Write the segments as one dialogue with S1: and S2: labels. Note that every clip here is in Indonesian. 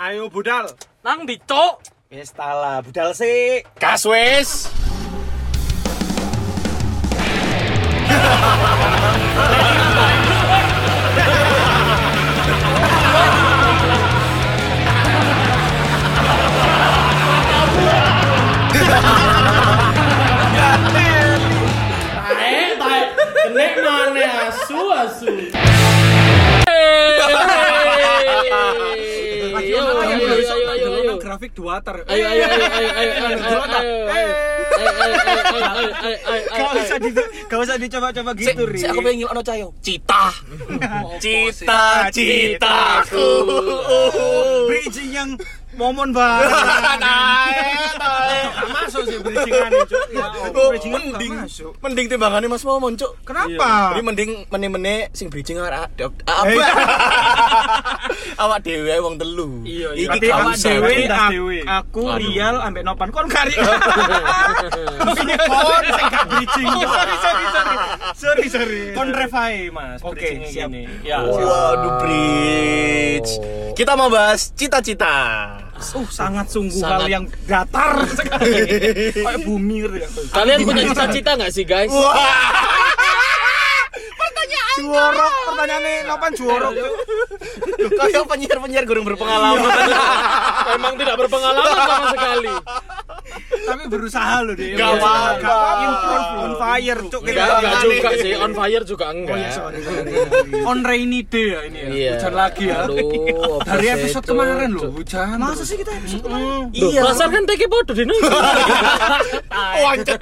S1: Ayo budal.
S2: Nang ndi, Cuk?
S3: Wis tala, budal sik.
S4: Gas wis.
S5: Eh, tai. Kene mana asu asu.
S2: Ayo, ayo, ayo, ayo, ayo, ayo.
S1: Grafik dua ter.
S2: Ayo, ayo, ayo, ayo, ayo, ayo, ayo, ayo, ayo. Ayo, ayo, ayo, ayo, ayo,
S3: Gak
S2: ayo, ayo, ayo.
S3: usah di gak usah dicoba-coba gitu, Ri.
S2: Sik, aku pengen ngilokno cah yo.
S4: Cita. Cita-citaku.
S3: Bridging yang momon banget.
S2: Nah.
S1: Masuk sih berisingan ini, Cuk. Ya, Allah.
S3: Bridging yang
S4: mending
S3: gak masuk.
S4: mending timbangannya Mas Momon, Cuk. Jadi
S2: Iya.
S3: Kenapa?
S4: mending mene-mene sing bridging arek apa. Awak dhewe ae wong telu.
S2: Iya, iya.
S4: Iki
S3: Tapi
S4: gak
S3: awak
S4: usah.
S3: dewe,
S1: Berarti
S3: ak-
S1: dewe.
S3: aku
S4: Waduh.
S3: Rial ambek Nopan kon kari. Kon sing gak bridging. Sorry, sorry, sorry. Sorry, sorry. Kon refae, Mas.
S1: Oke,
S3: bridging
S1: siap.
S3: ini.
S2: Ya,
S4: Waduh, bridge. Kita mau bahas cita-cita.
S3: Uh, sangat sungguh hal
S2: Sangat.
S3: yang datar sekali. Kayak bumi ngerti gak?
S2: Kalian punya cita-cita nggak sih guys?
S4: Wah.
S3: Juorok pertanyaannya Nopan juorok.
S4: Kayak penyiar-penyiar gurung berpengalaman.
S2: Emang tidak berpengalaman sama sekali.
S3: Tapi berusaha loh dia.
S4: Gak
S3: Berusaha.
S4: apa-apa.
S3: Gak apa-apa. Improve on fire, cuk.
S2: Enggak, enggak juga sih. On fire juga enggak.
S3: On rainy day ya ini ya.
S4: Iya.
S3: Hujan lagi ya.
S4: Aduh, apa
S5: Dari
S4: sih
S5: episode
S4: itu?
S5: kemarin loh, hujan.
S3: Masa sih kita episode kemarin?
S4: Iya.
S2: Pasar kan teki podo dino.
S4: Wancet.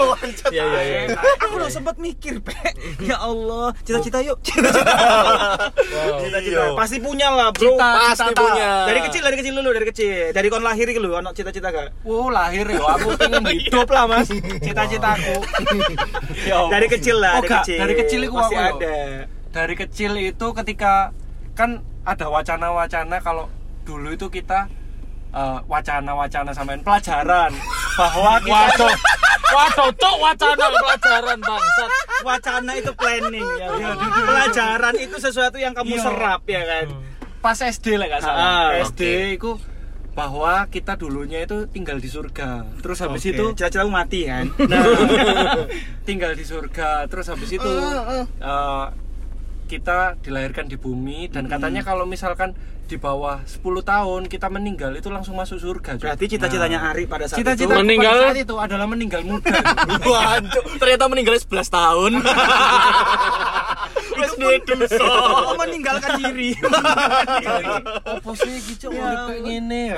S4: Wancet. Iya, iya, iya.
S3: Aku loh sempat mikir, Pe. Ya Allah, cita-cita yuk. Cita-cita.
S4: Iya.
S3: Pasti punya lah, Bro.
S4: Cita, Pasti
S3: Cita-cita.
S4: punya.
S3: Dari kecil, dari kecil dulu, dari kecil. Dari kon lahir iki lho, ono cita-cita gak?
S5: Wow, lahir ya aku pengen
S3: Iya.
S5: hidup.
S3: Hidup lah, Mas. Cita-citaku. dari kecil lah,
S5: Oh,
S3: dari
S5: gak.
S3: kecil.
S5: Dari kecil iku
S3: Pasti
S5: aku yo.
S3: ada.
S5: Dari kecil itu ketika kan ada wacana-wacana kalau dulu itu kita eh, wacana-wacana samain pelajaran bahwa kita
S2: Waduh. Waduh, cok wacana pelajaran bangsat.
S3: Wacana itu planning ya. Pelajaran itu sesuatu yang kamu
S5: Iya.
S3: serap ya kan.
S5: pas SD lah gak
S3: Ah,
S5: salah. SD itu bahwa kita dulunya itu tinggal di surga. Terus habis
S3: Oke,
S5: itu
S3: cita-citamu mati kan.
S5: Nah, tinggal di surga. Terus habis itu
S3: Oh,
S5: eh, kita dilahirkan di bumi dan katanya kalau misalkan di bawah 10 tahun kita meninggal itu langsung masuk surga. Cuk. Nah.
S3: Berarti cita-citanya Ari pada saat itu
S5: cita-cita pada
S2: Meninggal-
S5: saat itu adalah meninggal muda. Cuk.
S4: Wancet. Ternyata meninggalnya 11 tahun. Wes duwe dosa.
S3: Oh, meninggalkan diri.
S5: Apa sih gitu urip kayak ngene ya.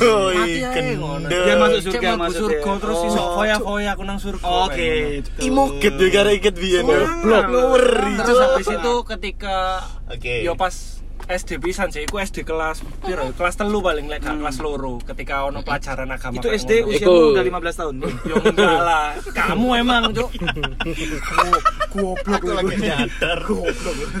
S4: Oi, gendeng.
S3: Dia Iya, masuk
S5: Cek
S3: surga
S5: mau
S3: masuk
S5: surga terus
S3: oh.
S5: iso foya-foya aku nang surga.
S3: Oke.
S5: kayak ngono.
S3: gitu.
S4: Imoget yo gara iket biyen yo.
S3: Blok.
S4: Ngeri.
S5: Terus habis itu ketika
S4: Oke.
S5: yo pas SD pisan sih, aku SD kelas piro? ya? Kelas telu paling lek gak kelas loro ketika ono pelajaran agama.
S3: Itu
S5: kayak
S3: SD
S5: ngono.
S2: Iku.
S3: usiamu udah 15 tahun.
S5: Yo Ya enggak lah. Kamu emang, Cuk.
S4: Aku lagi nyadar.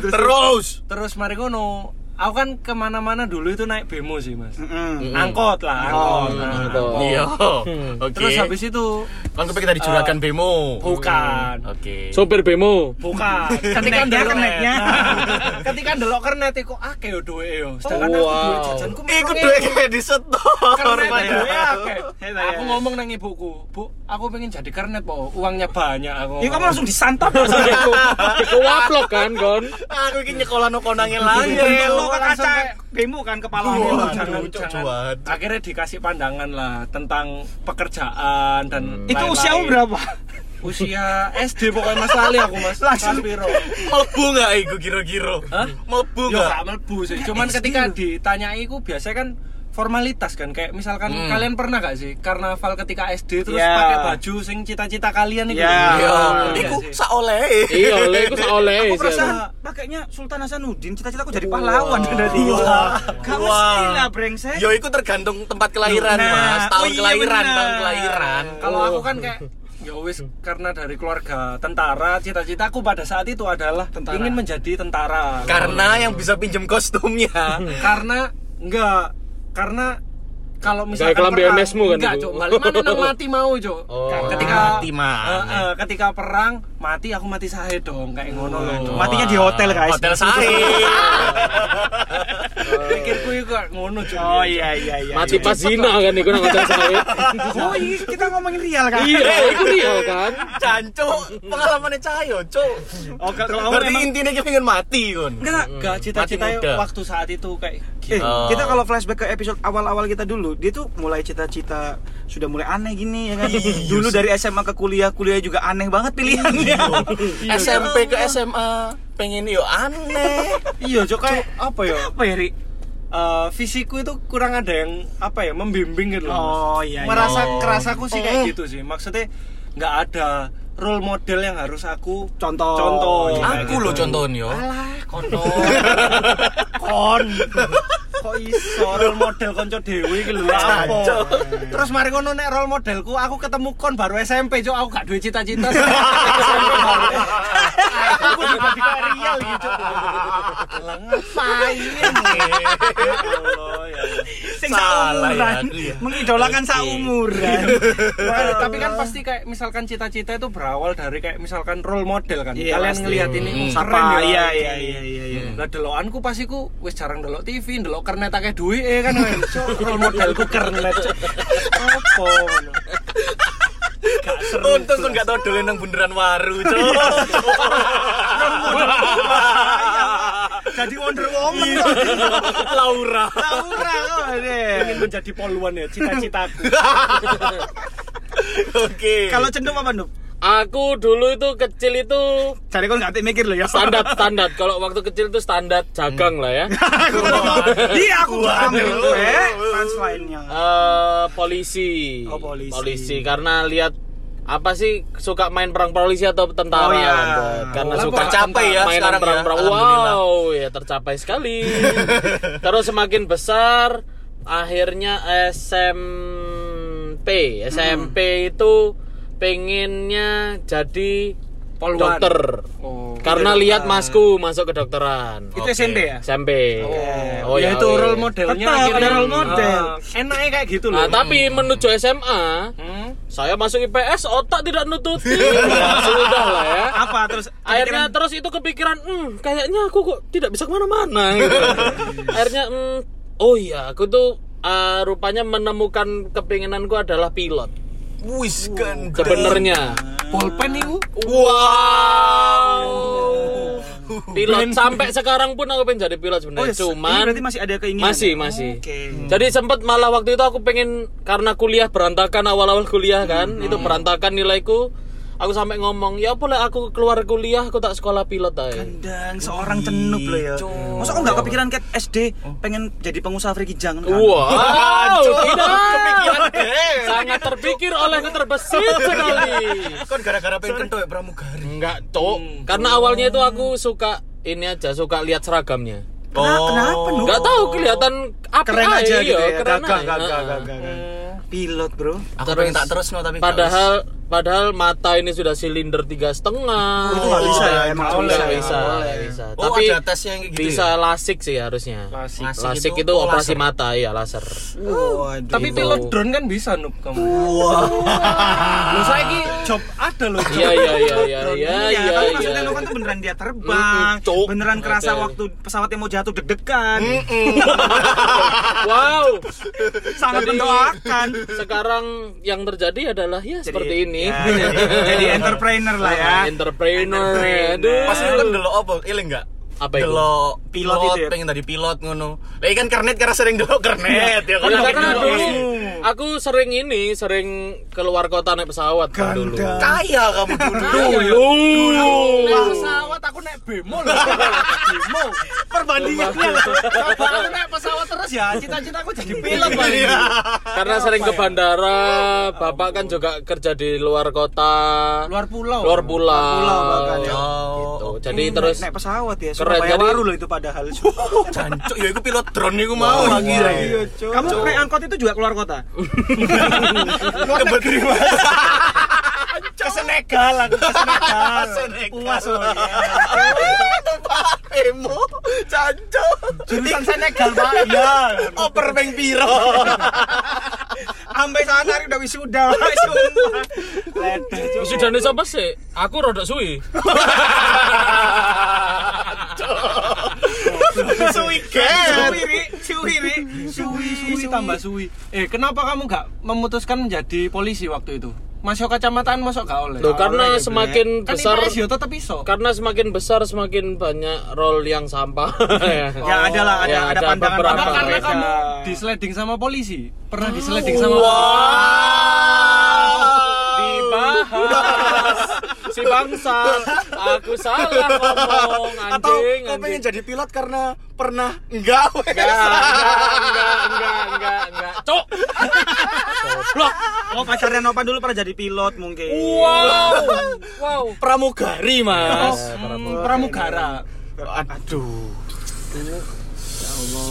S4: Terus.
S5: Terus mari ngono. Aku kan kemana-mana dulu itu naik bemo sih, Mas.
S3: Heeh.
S5: Angkot lah, angkot. nah,
S2: angkot.
S5: angkot.
S4: Iya. Oke.
S5: Terus habis itu
S4: kan kepikir tadi juragan bemo.
S5: bukan.
S4: Oke.
S2: Sopir bemo.
S5: Bukan. Ketika
S3: Keneknya,
S5: ndelok
S3: keneknya.
S5: net. Nah, Ketika ndelok kernet iku akeh yo duwe yo. Sedangkan
S2: Oh,
S5: aku duwe
S2: wow.
S5: jajanku
S4: Iku
S5: meneng.
S4: duwe kayak di setor.
S5: Kernet
S4: Padahal.
S5: duwe akeh. Aku ngomong nang ibuku, "Bu, aku pengen jadi kernet, Po. Uangnya banyak aku."
S3: Ini Iya, Ya, kamu langsung disantap langsung itu.
S2: Iku waplok kan, Gon.
S4: Aku iki nyekolah no konange
S5: Iya,
S3: Lu
S4: langit.
S3: ke
S5: langsung
S3: kaca
S5: kayak- Iya,
S3: demo kan
S5: Aduh,
S4: Waduh,
S3: kepalanya.
S5: jangan,
S4: cok,
S5: jangan.
S4: cuat.
S5: Akhirnya dikasih pandangan lah tentang pekerjaan dan
S3: Itu
S5: lain-lain.
S3: usiamu berapa?
S5: Usia SD pokoknya Mas Lali aku Mas. Langsung piro.
S4: Melebu nggak iku kira-kira?
S5: Hah?
S4: Melebu
S5: Yo
S4: nggak?
S5: gak melbu sih. Cuman ketika ditanyai aku biasanya kan formalitas kan kayak misalkan
S4: Hmm.
S5: kalian pernah gak sih karnaval ketika SD terus
S3: Ya.
S5: pakai baju sing cita-cita kalian itu.
S3: Ya. Iya
S4: Iya, iku saoleh.
S2: Iya, oleh iku sak oleh.
S3: Aku
S2: sih.
S3: perasaan pakainya Sultan Hasanuddin cita-citaku jadi pahlawan dari itu.
S4: Wah.
S3: Kamu
S4: Wah.
S3: mesti lah brengsek.
S4: Yo iku tergantung tempat kelahiran,
S3: Eh? Nah,
S4: Mas. Tahun
S3: oh iya,
S4: kelahiran,
S3: benar.
S4: tahun kelahiran.
S5: Kalau aku kan kayak
S2: Oh.
S5: ya wis karena dari keluarga tentara cita-citaku pada saat itu adalah
S3: Tentara.
S5: ingin menjadi tentara.
S4: Karena yang bisa pinjem kostumnya.
S5: karena enggak karena kalau misalkan
S2: Kayak kelambi
S5: perang,
S2: MS-mu kan
S5: enggak
S2: itu?
S5: cok balik mana nang mati mau cok
S4: Oh.
S5: ketika
S4: Mati mah.
S5: Eh, eh, ketika perang mati aku mati sahe dong kayak ngono
S4: Oh.
S5: lah cok
S3: Matinya di hotel, guys.
S4: Hotel saya.
S5: pikirku itu kayak ngono ngono cuy.
S3: Oh iya iya iya.
S2: Mati
S3: iya.
S2: pas zina kan iku nang ngajak saya.
S3: Oh iya kita ngomongin real kan.
S2: Iya, iku real kan.
S4: Cancuk, pengalamannya Cahyo, Cuk.
S3: Oh kalau kalau
S4: Berarti
S3: emang-
S4: intinya kita pengen mati, Kun.
S3: Enggak, enggak.
S5: Enggak, cita-cita
S4: Mati muda.
S5: waktu saat itu kayak
S3: Eh,
S5: gitu.
S4: Oh.
S3: kita kalau flashback ke episode awal-awal kita dulu, dia tuh mulai cita-cita sudah mulai aneh gini ya kan. dulu dari SMA ke kuliah, kuliah juga aneh banget pilihannya.
S4: SMP ke SMA pengen yo aneh.
S5: Iya, Cok, kayak apa ya? Apa ya, Ri? Eh, fisiku itu kurang ada yang apa ya membimbing gitu loh.
S3: Oh, iya, Eh. iya.
S5: Merasa
S4: Oh.
S5: kerasaku sih
S4: Oh.
S5: kayak gitu sih. Maksudnya nggak ada role model yang harus aku
S3: Contoh.
S5: Contoh.
S3: Iya,
S5: Kayak
S4: Aku
S5: gitu.
S4: lo contohnya yo.
S5: kon kok iso role model konco dewi iki lho apa terus mari ngono nek role modelku aku ketemu kon baru SMP cok aku gak duwe cita-cita SMP baru. aku juga di real gitu lah ngapain ya Allah ya Allah.
S3: Sing
S4: Salah ya,
S3: saumuran,
S4: aduh ya.
S3: mengidolakan
S4: Oke.
S3: saumuran.
S5: Bukan, tapi kan pasti kayak misalkan cita-cita itu berawal dari kayak misalkan role model kan.
S3: Iya,
S5: Kalian
S3: pasti.
S5: ngelihat ini
S4: Hmm.
S5: "Oh,
S3: Apa?
S5: keren
S3: Iya,
S5: ya.
S3: iya, iya, iya, iya.
S5: Lah delokanku pas iku wis jarang delok TV, delok kernet akeh duit eh kan men. Cuk, role modelku kernet. Cuk. Apa ngono? Gak seru.
S4: Untung kan gak tau dulu nang bundaran waru, Cuk.
S5: Jadi Wonder Woman
S3: Iya.
S5: kok.
S4: Laura.
S3: Saumuran oh, deh.
S5: Ingin menjadi poluan ya cita-citaku.
S4: Oke.
S3: Kalau cendum apa, Nup?
S2: Aku dulu itu kecil itu
S3: Cari kon nggak mikir lo ya.
S2: standar standar. Kalau waktu kecil itu standar jagang lah ya.
S3: aku tadi mau. Iya, aku ambil
S4: Waduh.
S3: tuh, eh. Trans nya
S2: eh polisi.
S3: Oh, polisi.
S2: karena lihat apa sih suka main perang polisi atau
S3: Oh,
S2: tentara
S3: iya.
S2: kan, Bro? karena
S5: Oh,
S2: suka
S4: tercapai ya
S2: mainan
S4: sekarang ya,
S2: perang-perang.
S4: alhamdulillah.
S2: wow ya tercapai sekali terus semakin besar akhirnya SMP SMP itu pengennya jadi
S5: Polwan.
S2: dokter
S5: Oh.
S2: karena lihat masku masuk ke dokteran
S3: Itu
S4: Oke.
S3: SMP ya?
S2: SMP
S5: Oh, ya, itu
S2: oke.
S5: role modelnya
S3: Tetap ada
S5: akhirnya.
S3: role model.
S5: Ah, enaknya kayak gitu loh.
S2: Nah, tapi menuju SMA,
S5: Hmm.
S2: saya masuk IPS otak tidak nututi. Ya, Sudah lah ya.
S3: Apa terus
S2: Akhirnya terus itu kepikiran, hmm, kayaknya aku kok tidak bisa kemana-mana. Gitu. Akhirnya, hmm, oh iya, aku tuh eh, rupanya menemukan kepinginanku adalah pilot.
S4: Wis kan.
S2: Sebenarnya,
S5: Pulpen itu
S2: wow, pilot sampai sekarang pun aku pengen jadi pilot
S3: Oh,
S2: sebenarnya.
S3: ya,
S2: Cuman
S3: ini berarti masih ada keinginan.
S2: masih
S3: ya?
S2: masih
S3: Oke.
S2: jadi sempat malah waktu itu aku pengen karena kuliah berantakan awal-awal kuliah kan
S3: Hmm,
S2: itu berantakan nilaiku aku sampai ngomong ya boleh aku keluar kuliah aku tak sekolah pilot aja
S3: Kan. Gendang seorang cenup lo ya. Masa kok nggak kepikiran ket SD pengen jadi pengusaha friki jangan kan?
S2: Oh. wow tidak sangat terpikir oleh terbesit sekali
S4: Kan gara-gara pengen kentok ya pramugari.
S2: enggak cok karena awalnya itu aku suka ini aja suka lihat seragamnya
S3: Kena- Nah,
S4: Oh.
S3: kenapa lu?
S2: Enggak tahu kelihatan apa
S3: Oh. Keren aja gitu ya.
S2: keren
S3: Gagah,
S2: aja.
S3: gagah,
S2: Heeh.
S3: gagah, gagah. Pilot, Bro.
S4: Aku
S2: Terus-
S4: pengen tak terus no tapi gak
S2: padahal padahal mata ini sudah silinder tiga setengah
S3: itu nggak bisa ya, emang
S2: nggak
S3: nggak
S2: bisa,
S3: boleh,
S2: bisa,
S4: nggak
S2: nggak
S4: boleh.
S2: bisa.
S4: Oh,
S2: tapi
S4: ada tesnya yang kayak gitu
S2: bisa lasik sih harusnya
S5: Lasik.
S2: lasik,
S4: Lasik
S2: itu,
S4: itu- oh,
S2: operasi
S4: laser.
S2: mata ya laser
S3: Waduh.
S5: Tapi
S2: Gitu.
S5: pilot drone kan bisa nup kamu. Wah. Lu saiki Ah. job ada loh. job.
S2: iya iya iya iya iya
S3: Iya,
S2: iya
S3: tapi
S2: iya
S3: maksudnya lu kan tuh beneran dia terbang,
S2: Mm, cok.
S3: beneran kerasa
S2: Oke.
S3: waktu pesawatnya mau jatuh deg-degan,
S2: wow
S3: sangat
S2: Jadi-
S3: mendoakan.
S2: sekarang yang terjadi adalah ya seperti ini
S3: Ya, jadi, jadi entrepreneur lah ya.
S2: entrepreneur, aduh.
S4: Pas itu kan delok apa? Iling enggak?
S2: Apa itu?
S4: Delok
S3: Pilot
S4: pilot,
S3: itu ya?
S4: pengen tadi pilot ngono. Lah ikan kernet karena sering delok kernet ya kan.
S2: Ya, karena
S4: Delok
S2: dulu
S4: kernet.
S2: aku sering ini sering keluar kota naik pesawat kan dulu
S4: kaya kamu dulu.
S2: Iya, dulu
S5: Naik pesawat aku naik bemo loh. bemo.
S3: Perbandingannya
S5: Coba aku naik pesawat terus ya cita-cita aku jadi pilot
S4: Iya.
S5: paling.
S2: Karena sering ke bandara, bapak kan juga kerja di luar kota,
S5: Luar pulau.
S2: luar pulau.
S3: pulau bahkan ya.
S2: Gitu.
S4: Oh,
S2: Jadi
S3: Ini
S2: terus
S3: naik pesawat ya,
S2: keren,
S3: Surabaya
S2: jadi-
S3: baru loh itu padahal.
S4: jancuk ya iku pilot drone iku mau lagi ya.
S3: Iya,
S4: lagi.
S3: Cok. Kamu naik angkot itu juga keluar kota?
S4: Kebegeri Mas. Ke Senegal aku ke Senegal. Puas
S3: oh,
S4: loh.
S3: iya.
S4: Tempat emo jancuk.
S3: Jurusan Senegal, Pak.
S4: Ya, oper peng piro.
S3: Sampai saat hari udah wisuda, Pak. Sumpah. Ledeh, Cok.
S2: sudah nih sampai sih, aku rada suwi.
S4: Suwi suwi get.
S3: Eh, Suwiri, suwiri, suwi,
S5: suwi tambah suwi. Eh, kenapa kamu nggak memutuskan menjadi polisi waktu itu? Masuk kacamataan masuk gak oleh.
S2: Loh, karena semakin
S5: kan
S2: besar
S5: besar IPS yo tetap iso.
S2: karena semakin besar semakin banyak role yang sampah.
S3: Ya ada lah, ada
S2: Ya,
S3: ada
S2: ada
S3: pandangan
S2: beberapa.
S5: Apa Nah, karena
S3: beda.
S5: kamu disleding sama polisi? Pernah disleding sama polisi?
S4: Wow.
S2: Dibahas si
S5: Eh,
S2: bangsa, aku salah ngomong
S4: Atau
S2: anjing.
S4: kau pengen
S2: anjing.
S4: jadi pilot karena pernah enggak wes.
S2: Enggak, enggak, enggak, enggak, enggak. Cok. Goblok.
S3: Oh pacarnya Nova dulu pernah jadi pilot mungkin.
S2: Wow. Wow.
S4: Pramugari mas.
S5: Hmm, pramugara.
S4: Aduh.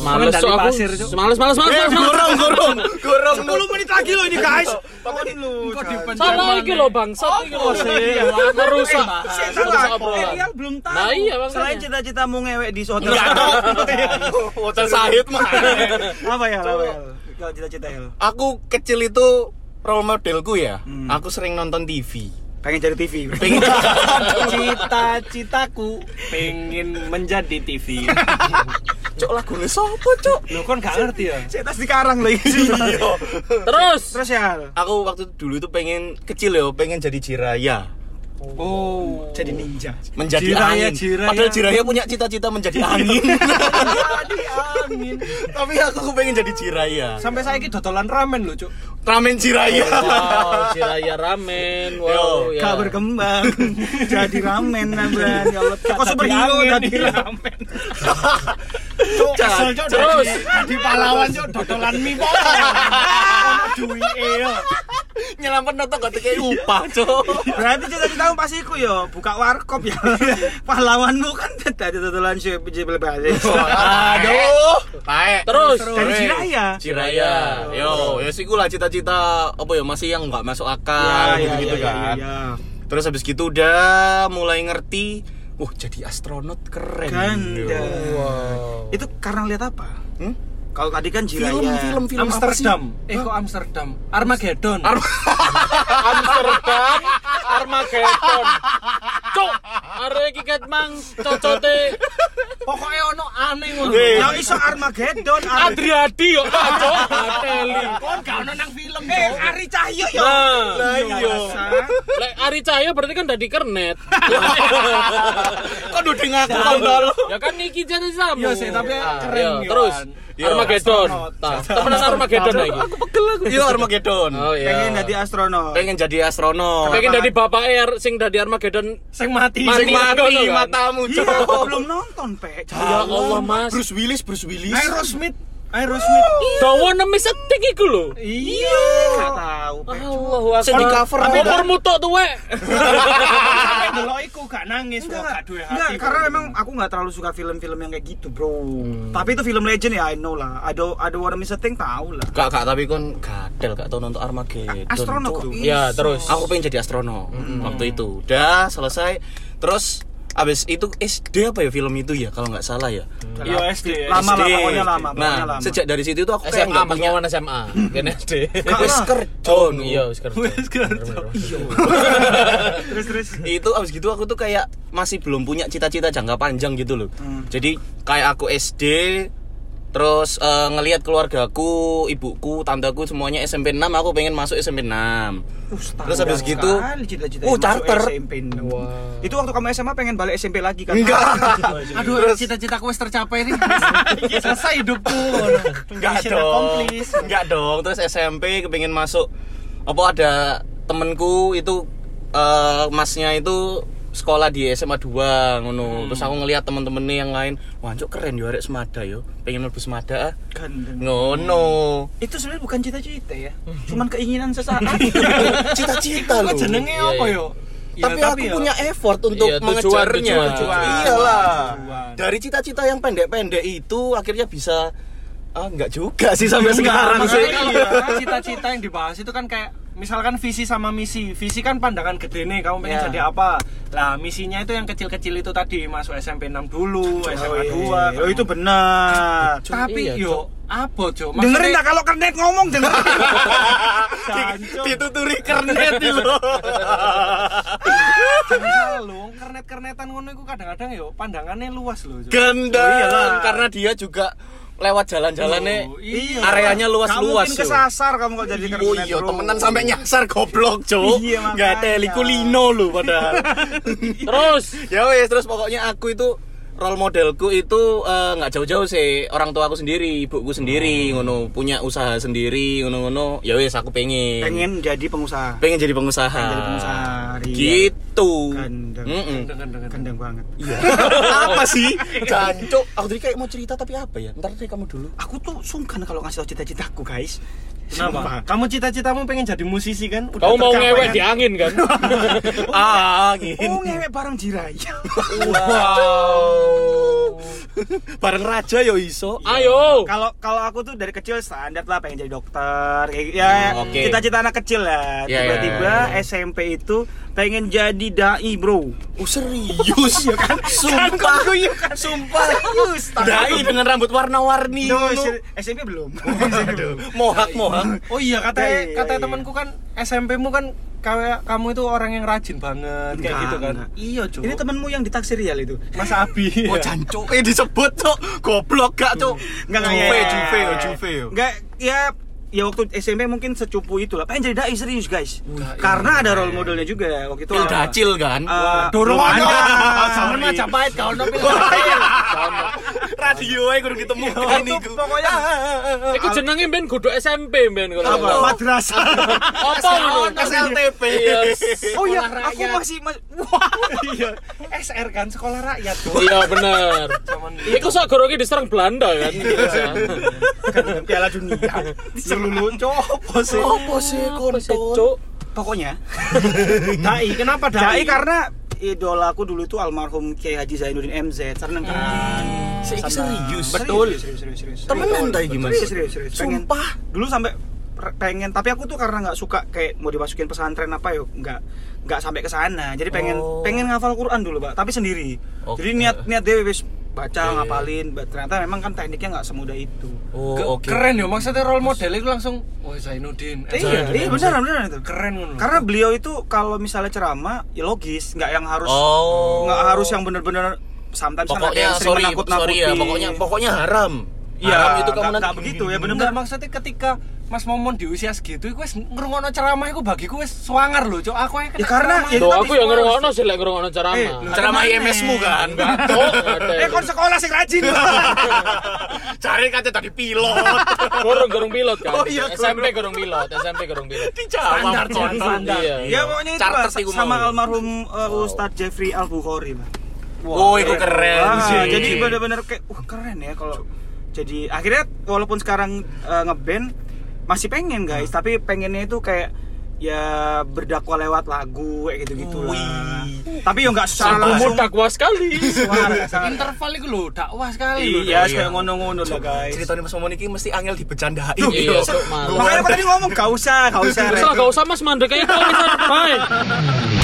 S2: Males
S5: Pengendali
S2: cok aku.
S5: pasir, Cok.
S2: Males, males, males,
S4: Eh,
S2: males. males.
S4: gorong, gorong, gorong.
S3: 10 menit lagi loh ini guys. Tolong dulu.
S5: Kok dipencet
S2: Salah
S5: maneh?
S4: eh.
S2: iki lho bangsat
S4: Oh,
S2: iki lho.
S4: iya,
S5: sih?
S2: Merusak.
S3: Saya
S2: Merusak
S3: salah.
S2: obrolan.
S3: Erial Eh, belum tahu.
S2: Nah, iya, makanya.
S3: Selain cita-cita mau ngewek di hotel.
S4: Enggak dong. Hotel Sahid mah.
S3: Apa ya? Apa ya? Kalau cita-cita El.
S4: Aku kecil itu role modelku ya.
S3: Hmm.
S4: Aku sering nonton TV.
S3: Pengen cari TV.
S4: Pengen
S5: Cita-citaku pengen menjadi TV.
S4: cok lagu lu sopo cok.
S5: Lo kan gak ngerti ya? Iya.
S3: Saya tas di karang lagi.
S2: Terus.
S3: Terus ya. El.
S4: Aku waktu dulu itu pengen kecil ya, pengen jadi jiraya.
S5: Oh,
S3: Jadi ninja.
S4: menjadi
S5: Jiraya,
S4: angin.
S5: jiraya.
S4: Padahal Jiraya punya cita-cita menjadi angin.
S5: angin.
S4: Tapi aku pengen jadi Jiraya.
S5: Sampai saya ini dodolan ramen loh, Cuk.
S4: Ramen Jiraya.
S5: Oh,
S2: Wow, Jiraya ramen. Wow,
S4: Yo,
S2: ya.
S3: Gak berkembang. Jadi ramen nabran. Ya Allah. Kok superhero
S5: angin,
S3: jadi
S5: iya.
S3: ramen.
S4: Cok,
S2: terus.
S5: Di pahlawan, Cuk, dodolan mie po. Duwe
S4: nyelamat noto gak kayak upah, Cok.
S3: Berarti cita-citamu pasti iku yo buka warkop ya. Pahlawanmu kan tadi tutulan sih bejebel
S4: Aduh. Kae.
S2: Terus.
S3: Dari
S4: Eh,
S3: Jiraya.
S4: Jiraya. Yo, ya sih gua lah cita-cita apa ya masih yang nggak masuk
S5: Ya,
S3: Iya,
S4: akal gitu-gitu kan. Terus habis gitu udah mulai ngerti, wah jadi astronot keren.
S3: Ganda.
S4: Yo.
S3: Kan, Itu karena lihat apa?
S4: Hmm?
S3: Kalau tadi kan Jiraya.
S4: Film, film, film apa sih?
S5: Amsterdam. Eh kok Amsterdam? Armageddon.
S2: Amsterdam Armageddon. Cok, arek iki ket mang cocote
S5: Pokoknya ono aneh ngono.
S4: Hei.
S3: Ya iso Armageddon. Ar-
S2: Adriadi yo ah, Cok, Ateli.
S5: Kon gak ono nang film,
S3: Eh,
S5: Cuk.
S3: Ari Cahyo yo.
S2: Nah,
S4: Lah, iya.
S2: lek Ari Cahyo berarti kan dadi kernet.
S4: Kok udah ngaku tolol.
S2: ya kan iki jadi sama. Ah,
S5: Iya sih, tapi keren, Yohan.
S2: terus
S4: Yo,
S2: Armageddon.
S5: astronot.
S2: Tah, temenan Armageddon lagi.
S4: Yo Armageddon.
S2: Oh iya.
S3: Pengen jadi astronot. Iya,
S4: Pengen jadi astronot.
S2: Pengen dadi bapak air sing dadi Armageddon.
S5: Sing mati.
S2: Mati.
S4: Sing mati
S2: Pengen-
S4: matamu,
S3: Iya, aku
S4: Cok.
S3: belum nonton, Pe.
S2: Ya Allah, Mas. Iya.
S4: Bruce Willis, Bruce Willis.
S5: Aerosmith. Aerosmith.
S2: Dawa nemis setik iku lho.
S5: Iya.
S3: Gak tahu, Pe.
S4: Oh,
S2: Allahu
S4: Sing di cover
S2: Tapi
S4: apa?
S2: umurmu tok tuwek.
S5: Sampai delok iku gak nangis, kok
S3: Enggak,
S5: gak
S4: ya
S5: duwe hati.
S3: enggak, karena memang aku nggak terlalu suka film-film yang kayak gitu, bro.
S4: Hmm.
S3: Tapi itu film legend ya, I know lah. Ada ada Warna Miss a Thing tahu lah.
S4: Kak, kak, tapi kon gadel gak tau nonton Armageddon.
S3: Astronot
S4: Cuk.
S3: kok iso.
S2: Ya, terus.
S4: Iya, Aku pengen jadi astronot waktu itu. Udah selesai. Terus abis itu SD apa ya film itu ya kalau nggak salah ya.
S5: Iya SD. ya.
S3: Lama lah,
S4: SD.
S3: pokoknya lama,
S4: Nah,
S3: pokoknya lama.
S4: sejak dari situ tuh aku kayak
S2: SMA,
S4: nggak
S2: Mas
S4: punya
S2: Wawan SMA. Kene SD.
S4: Wes
S3: Karena-
S4: kerja.
S2: Oh,
S4: Nu.
S2: iya, wis kerja.
S5: Wis kerja.
S3: Terus terus.
S4: Iya. itu abis gitu aku tuh kayak masih belum punya cita-cita jangka panjang gitu loh
S3: Hmm.
S4: jadi kayak aku SD terus eh, ngelihat keluargaku ibuku tanteku semuanya SMP 6 aku pengen masuk SMP 6 Terus habis gitu, uh,
S3: oh
S4: charter.
S3: SMP. Itu waktu kamu SMA pengen balik SMP lagi kan?
S4: enggak
S5: Aduh, cita-citaku wis tercapai nih. Selesai hidupku.
S4: enggak
S5: Mission
S4: dong
S5: accomplished.
S4: enggak dong Oh, terus SMP kepengen masuk apa ada temenku itu eh, masnya itu sekolah di SMA 2
S2: Hmm.
S4: ngono terus aku ngelihat temen-temennya yang lain wah cuk, keren yo arek semada yo pengen mlebu semada ah.
S3: Gandeng.
S4: ngono
S3: Itu sebenarnya bukan cita-cita ya. Cuman keinginan sesaat. iya.
S4: cita-cita
S5: Kok jenenge
S2: Iya,
S5: apa
S2: iya.
S5: yo? Ya,
S4: tapi, aku
S5: ya,
S4: punya effort untuk
S2: Iya, tujuan,
S4: mengejarnya
S2: tujuan, tujuan.
S4: iyalah
S5: Tujuan.
S4: dari cita-cita yang pendek-pendek itu akhirnya bisa ah nggak juga sih sampai sekarang sih
S5: Makanya kalau cita-cita yang dibahas itu kan kayak misalkan visi sama misi visi kan pandangan gede nih kamu pengen
S3: Ya.
S5: jadi apa lah misinya itu yang kecil-kecil itu tadi masuk SMP 6 dulu SMA
S3: Oh,
S5: 2
S3: itu benar.
S2: Cuk,
S5: gitu. tapi
S2: iya, Cuk.
S5: yo apa cok
S3: Dengerin tak kalau kernet ngomong dengerin.
S4: Dituturi kernet di lo.
S5: lo kernet kernetan ngono itu kadang-kadang yo pandangannya luas loh Cuk.
S2: Oh,
S4: Gendang karena dia juga lewat jalan-jalannya
S5: Oh, iya.
S4: areanya
S3: Kamu
S4: luas-luas.
S3: mungkin
S4: Cuk.
S3: kesasar kamu kalau jadi kernet.
S4: Oh iya,
S3: bro.
S4: temenan sampai nyasar goblok, Cuk.
S3: Iya, makanya.
S4: Enggak teli kulino lu padahal.
S2: Terus
S4: ya wes, terus pokoknya aku itu role modelku itu eh, nggak jauh-jauh sih orang tua aku sendiri, ibuku sendiri,
S2: Oh.
S4: ngono punya usaha sendiri, ngono-ngono. Ya wes aku pengen.
S3: pengen jadi pengusaha.
S4: pengen jadi pengusaha.
S3: jadi pengusaha, iya.
S4: Gitu.
S3: Kandang.
S4: Mm-mm.
S5: Dengerin, dengerin.
S3: Kendang banget.
S4: apa sih? Jancuk. Aku tadi kayak mau cerita tapi apa ya? Ntar deh kamu dulu.
S3: Aku tuh sungkan kalau ngasih tau cita-citaku, guys.
S5: Kenapa? Kamu cita-citamu pengen jadi musisi kan? Udah
S2: kamu mau
S5: tercapai
S2: ngewek
S5: kan?
S2: di angin kan?
S4: Ah,
S3: Sumpah. Oh, ngewek bareng jiraya.
S4: Wow. Bareng raja yo iso.
S2: Ayo.
S3: Kalau kalau aku tuh dari kecil standar lah pengen jadi dokter. Kayak ya
S4: Hmm, oke.
S3: cita-cita anak kecil lah.
S4: Ya,
S3: Tiba-tiba
S4: ya, ya, ya.
S3: SMP itu pengen jadi dai, Bro.
S4: Oh, serius ya kan? Sumpah. Sumpah.
S3: Serius,
S4: Dai dengan rambut warna-warni.
S3: Duh,
S4: ngono.
S3: seri- SMP belum.
S4: Mohak mohak.
S5: Oh iya katanya
S3: Iya, iya,
S5: katanya
S3: iya.
S5: temanku kan SMP-mu kan kayak kamu itu orang yang rajin banget kayak
S3: Enggak,
S5: gitu kan.
S3: enggak.
S5: Iya, Cuk.
S3: Ini temenmu yang ditaksir ya itu.
S5: Mas Abi.
S4: Oh jancuk, eh disebut cok, goblok gak cok? Juve,
S3: ya.
S4: Juve, oh, Juve. oh.
S3: Enggak, ya ya waktu SMP mungkin secupu itulah. Pengen jadi dai serius, guys.
S5: Wah,
S3: Karena ada role modelnya juga waktu itu.
S4: Pil dacil kan?
S3: Eh,
S5: Dorong
S3: belum
S5: aja.
S3: ada.
S5: Sama Majapahit kau nopi.
S4: Radio ae kudu ketemu
S3: Itu pokoknya
S2: Iku jenenge ben kudu SMP ben kalau.
S3: apa? Madrasah.
S2: Apa ngono?
S4: SLTP.
S2: Iya.
S3: Oh iya,
S5: Sekolah
S3: aku
S5: rakyat.
S3: masih mas- wah.
S5: Iya. SR kan sekolah rakyat.
S2: Iya bener.
S5: Cuman
S2: Iku sak goroki diserang Belanda kan.
S3: Piala dunia. Seluruh copo sih.
S4: Apa sih kontol?
S2: Cuk.
S3: Pokoknya
S5: dai, kenapa dai?
S3: Dai karena idola aku dulu itu almarhum Kiai Haji Zainuddin MZ seneng kan
S4: Sik, iki serius.
S3: betul serius serius serius
S4: Ah. Temenan ta iki, Mas?
S3: serius serius, serius. Pengen-
S4: Sumpah.
S3: dulu sampai per- pengen tapi aku tuh karena nggak suka kayak mau dimasukin pesantren apa yuk nggak nggak sampai ke sana jadi pengen
S4: Oh.
S3: pengen ngafal Quran dulu pak tapi sendiri
S4: Oke.
S3: jadi niat niat dewe wis baca
S4: Oke.
S3: ngapalin ba- ternyata memang kan tekniknya nggak semudah itu
S4: Oh,
S5: Ke- Keren ya maksudnya role model itu langsung wah Zainuddin. eh,
S3: iya
S5: Zainuddin.
S3: iya beneran beneran itu
S5: Keren ngono.
S3: karena beliau itu kalau misalnya ceramah ya logis nggak yang harus
S4: Oh.
S3: nggak harus yang bener-bener sometimes kan ada
S4: pokoknya
S3: yang sering
S4: sorry, sorry ya,
S3: menakut-nakutin.
S4: pokoknya pokoknya haram.
S3: Iya,
S4: haram itu kamu
S3: nggak- nggak begitu ya
S5: Bener
S3: bener-bener
S5: maksudnya ketika Mas Momon di usia segitu, gue ngerungono ceramah, gue bagiku wes swangar loh, cok. Aku yang
S3: Ya, karena- ya,
S2: Tuh aku yang ngerungokno sih lek
S3: Eh,
S2: ngerungokno ceramah.
S4: Ceramah
S3: Kemana?
S4: IMS-mu kan?
S2: Cuk, ada.
S3: eh kon sekolah sih rajin
S4: Cari kaca tadi pilot.
S2: Gorong gorong pilot kan.
S4: Oh iya,
S2: SMP gorong pilot, SMP gorong pilot.
S4: Dijawab
S5: Standar,
S4: Cok.
S5: standar.
S4: Iya.
S3: ya pokoknya itu
S4: Charter
S3: lah,
S4: sih gua
S3: sama
S4: mau.
S3: almarhum uh, Ustadz Jeffrey Al Bukhari lah
S4: Oh, itu keren
S3: Wah,
S4: sih.
S3: jadi bener-bener kayak wah keren ya kalau jadi akhirnya walaupun sekarang uh, ngeband masih pengen guys
S4: Hmm.
S3: tapi pengennya itu kayak ya berdakwah lewat lagu kayak gitu gitu lah tapi ya nggak secara
S2: Umur
S3: langsung
S2: takwa sekali.
S3: Wah, sangat-
S5: interval itu loh dakwah sekali loh,
S3: iya
S4: iya.
S3: kayak ngono-ngono lah guys
S4: Ceritanya Mas Momon ini mesti angel dibecandain.
S2: Iya, Cuk, malu.
S4: Iya.
S3: makanya aku tadi ngomong gak usah gak usah
S2: Gak usah, gak usah mas mandek aja kalau bisa. Bye.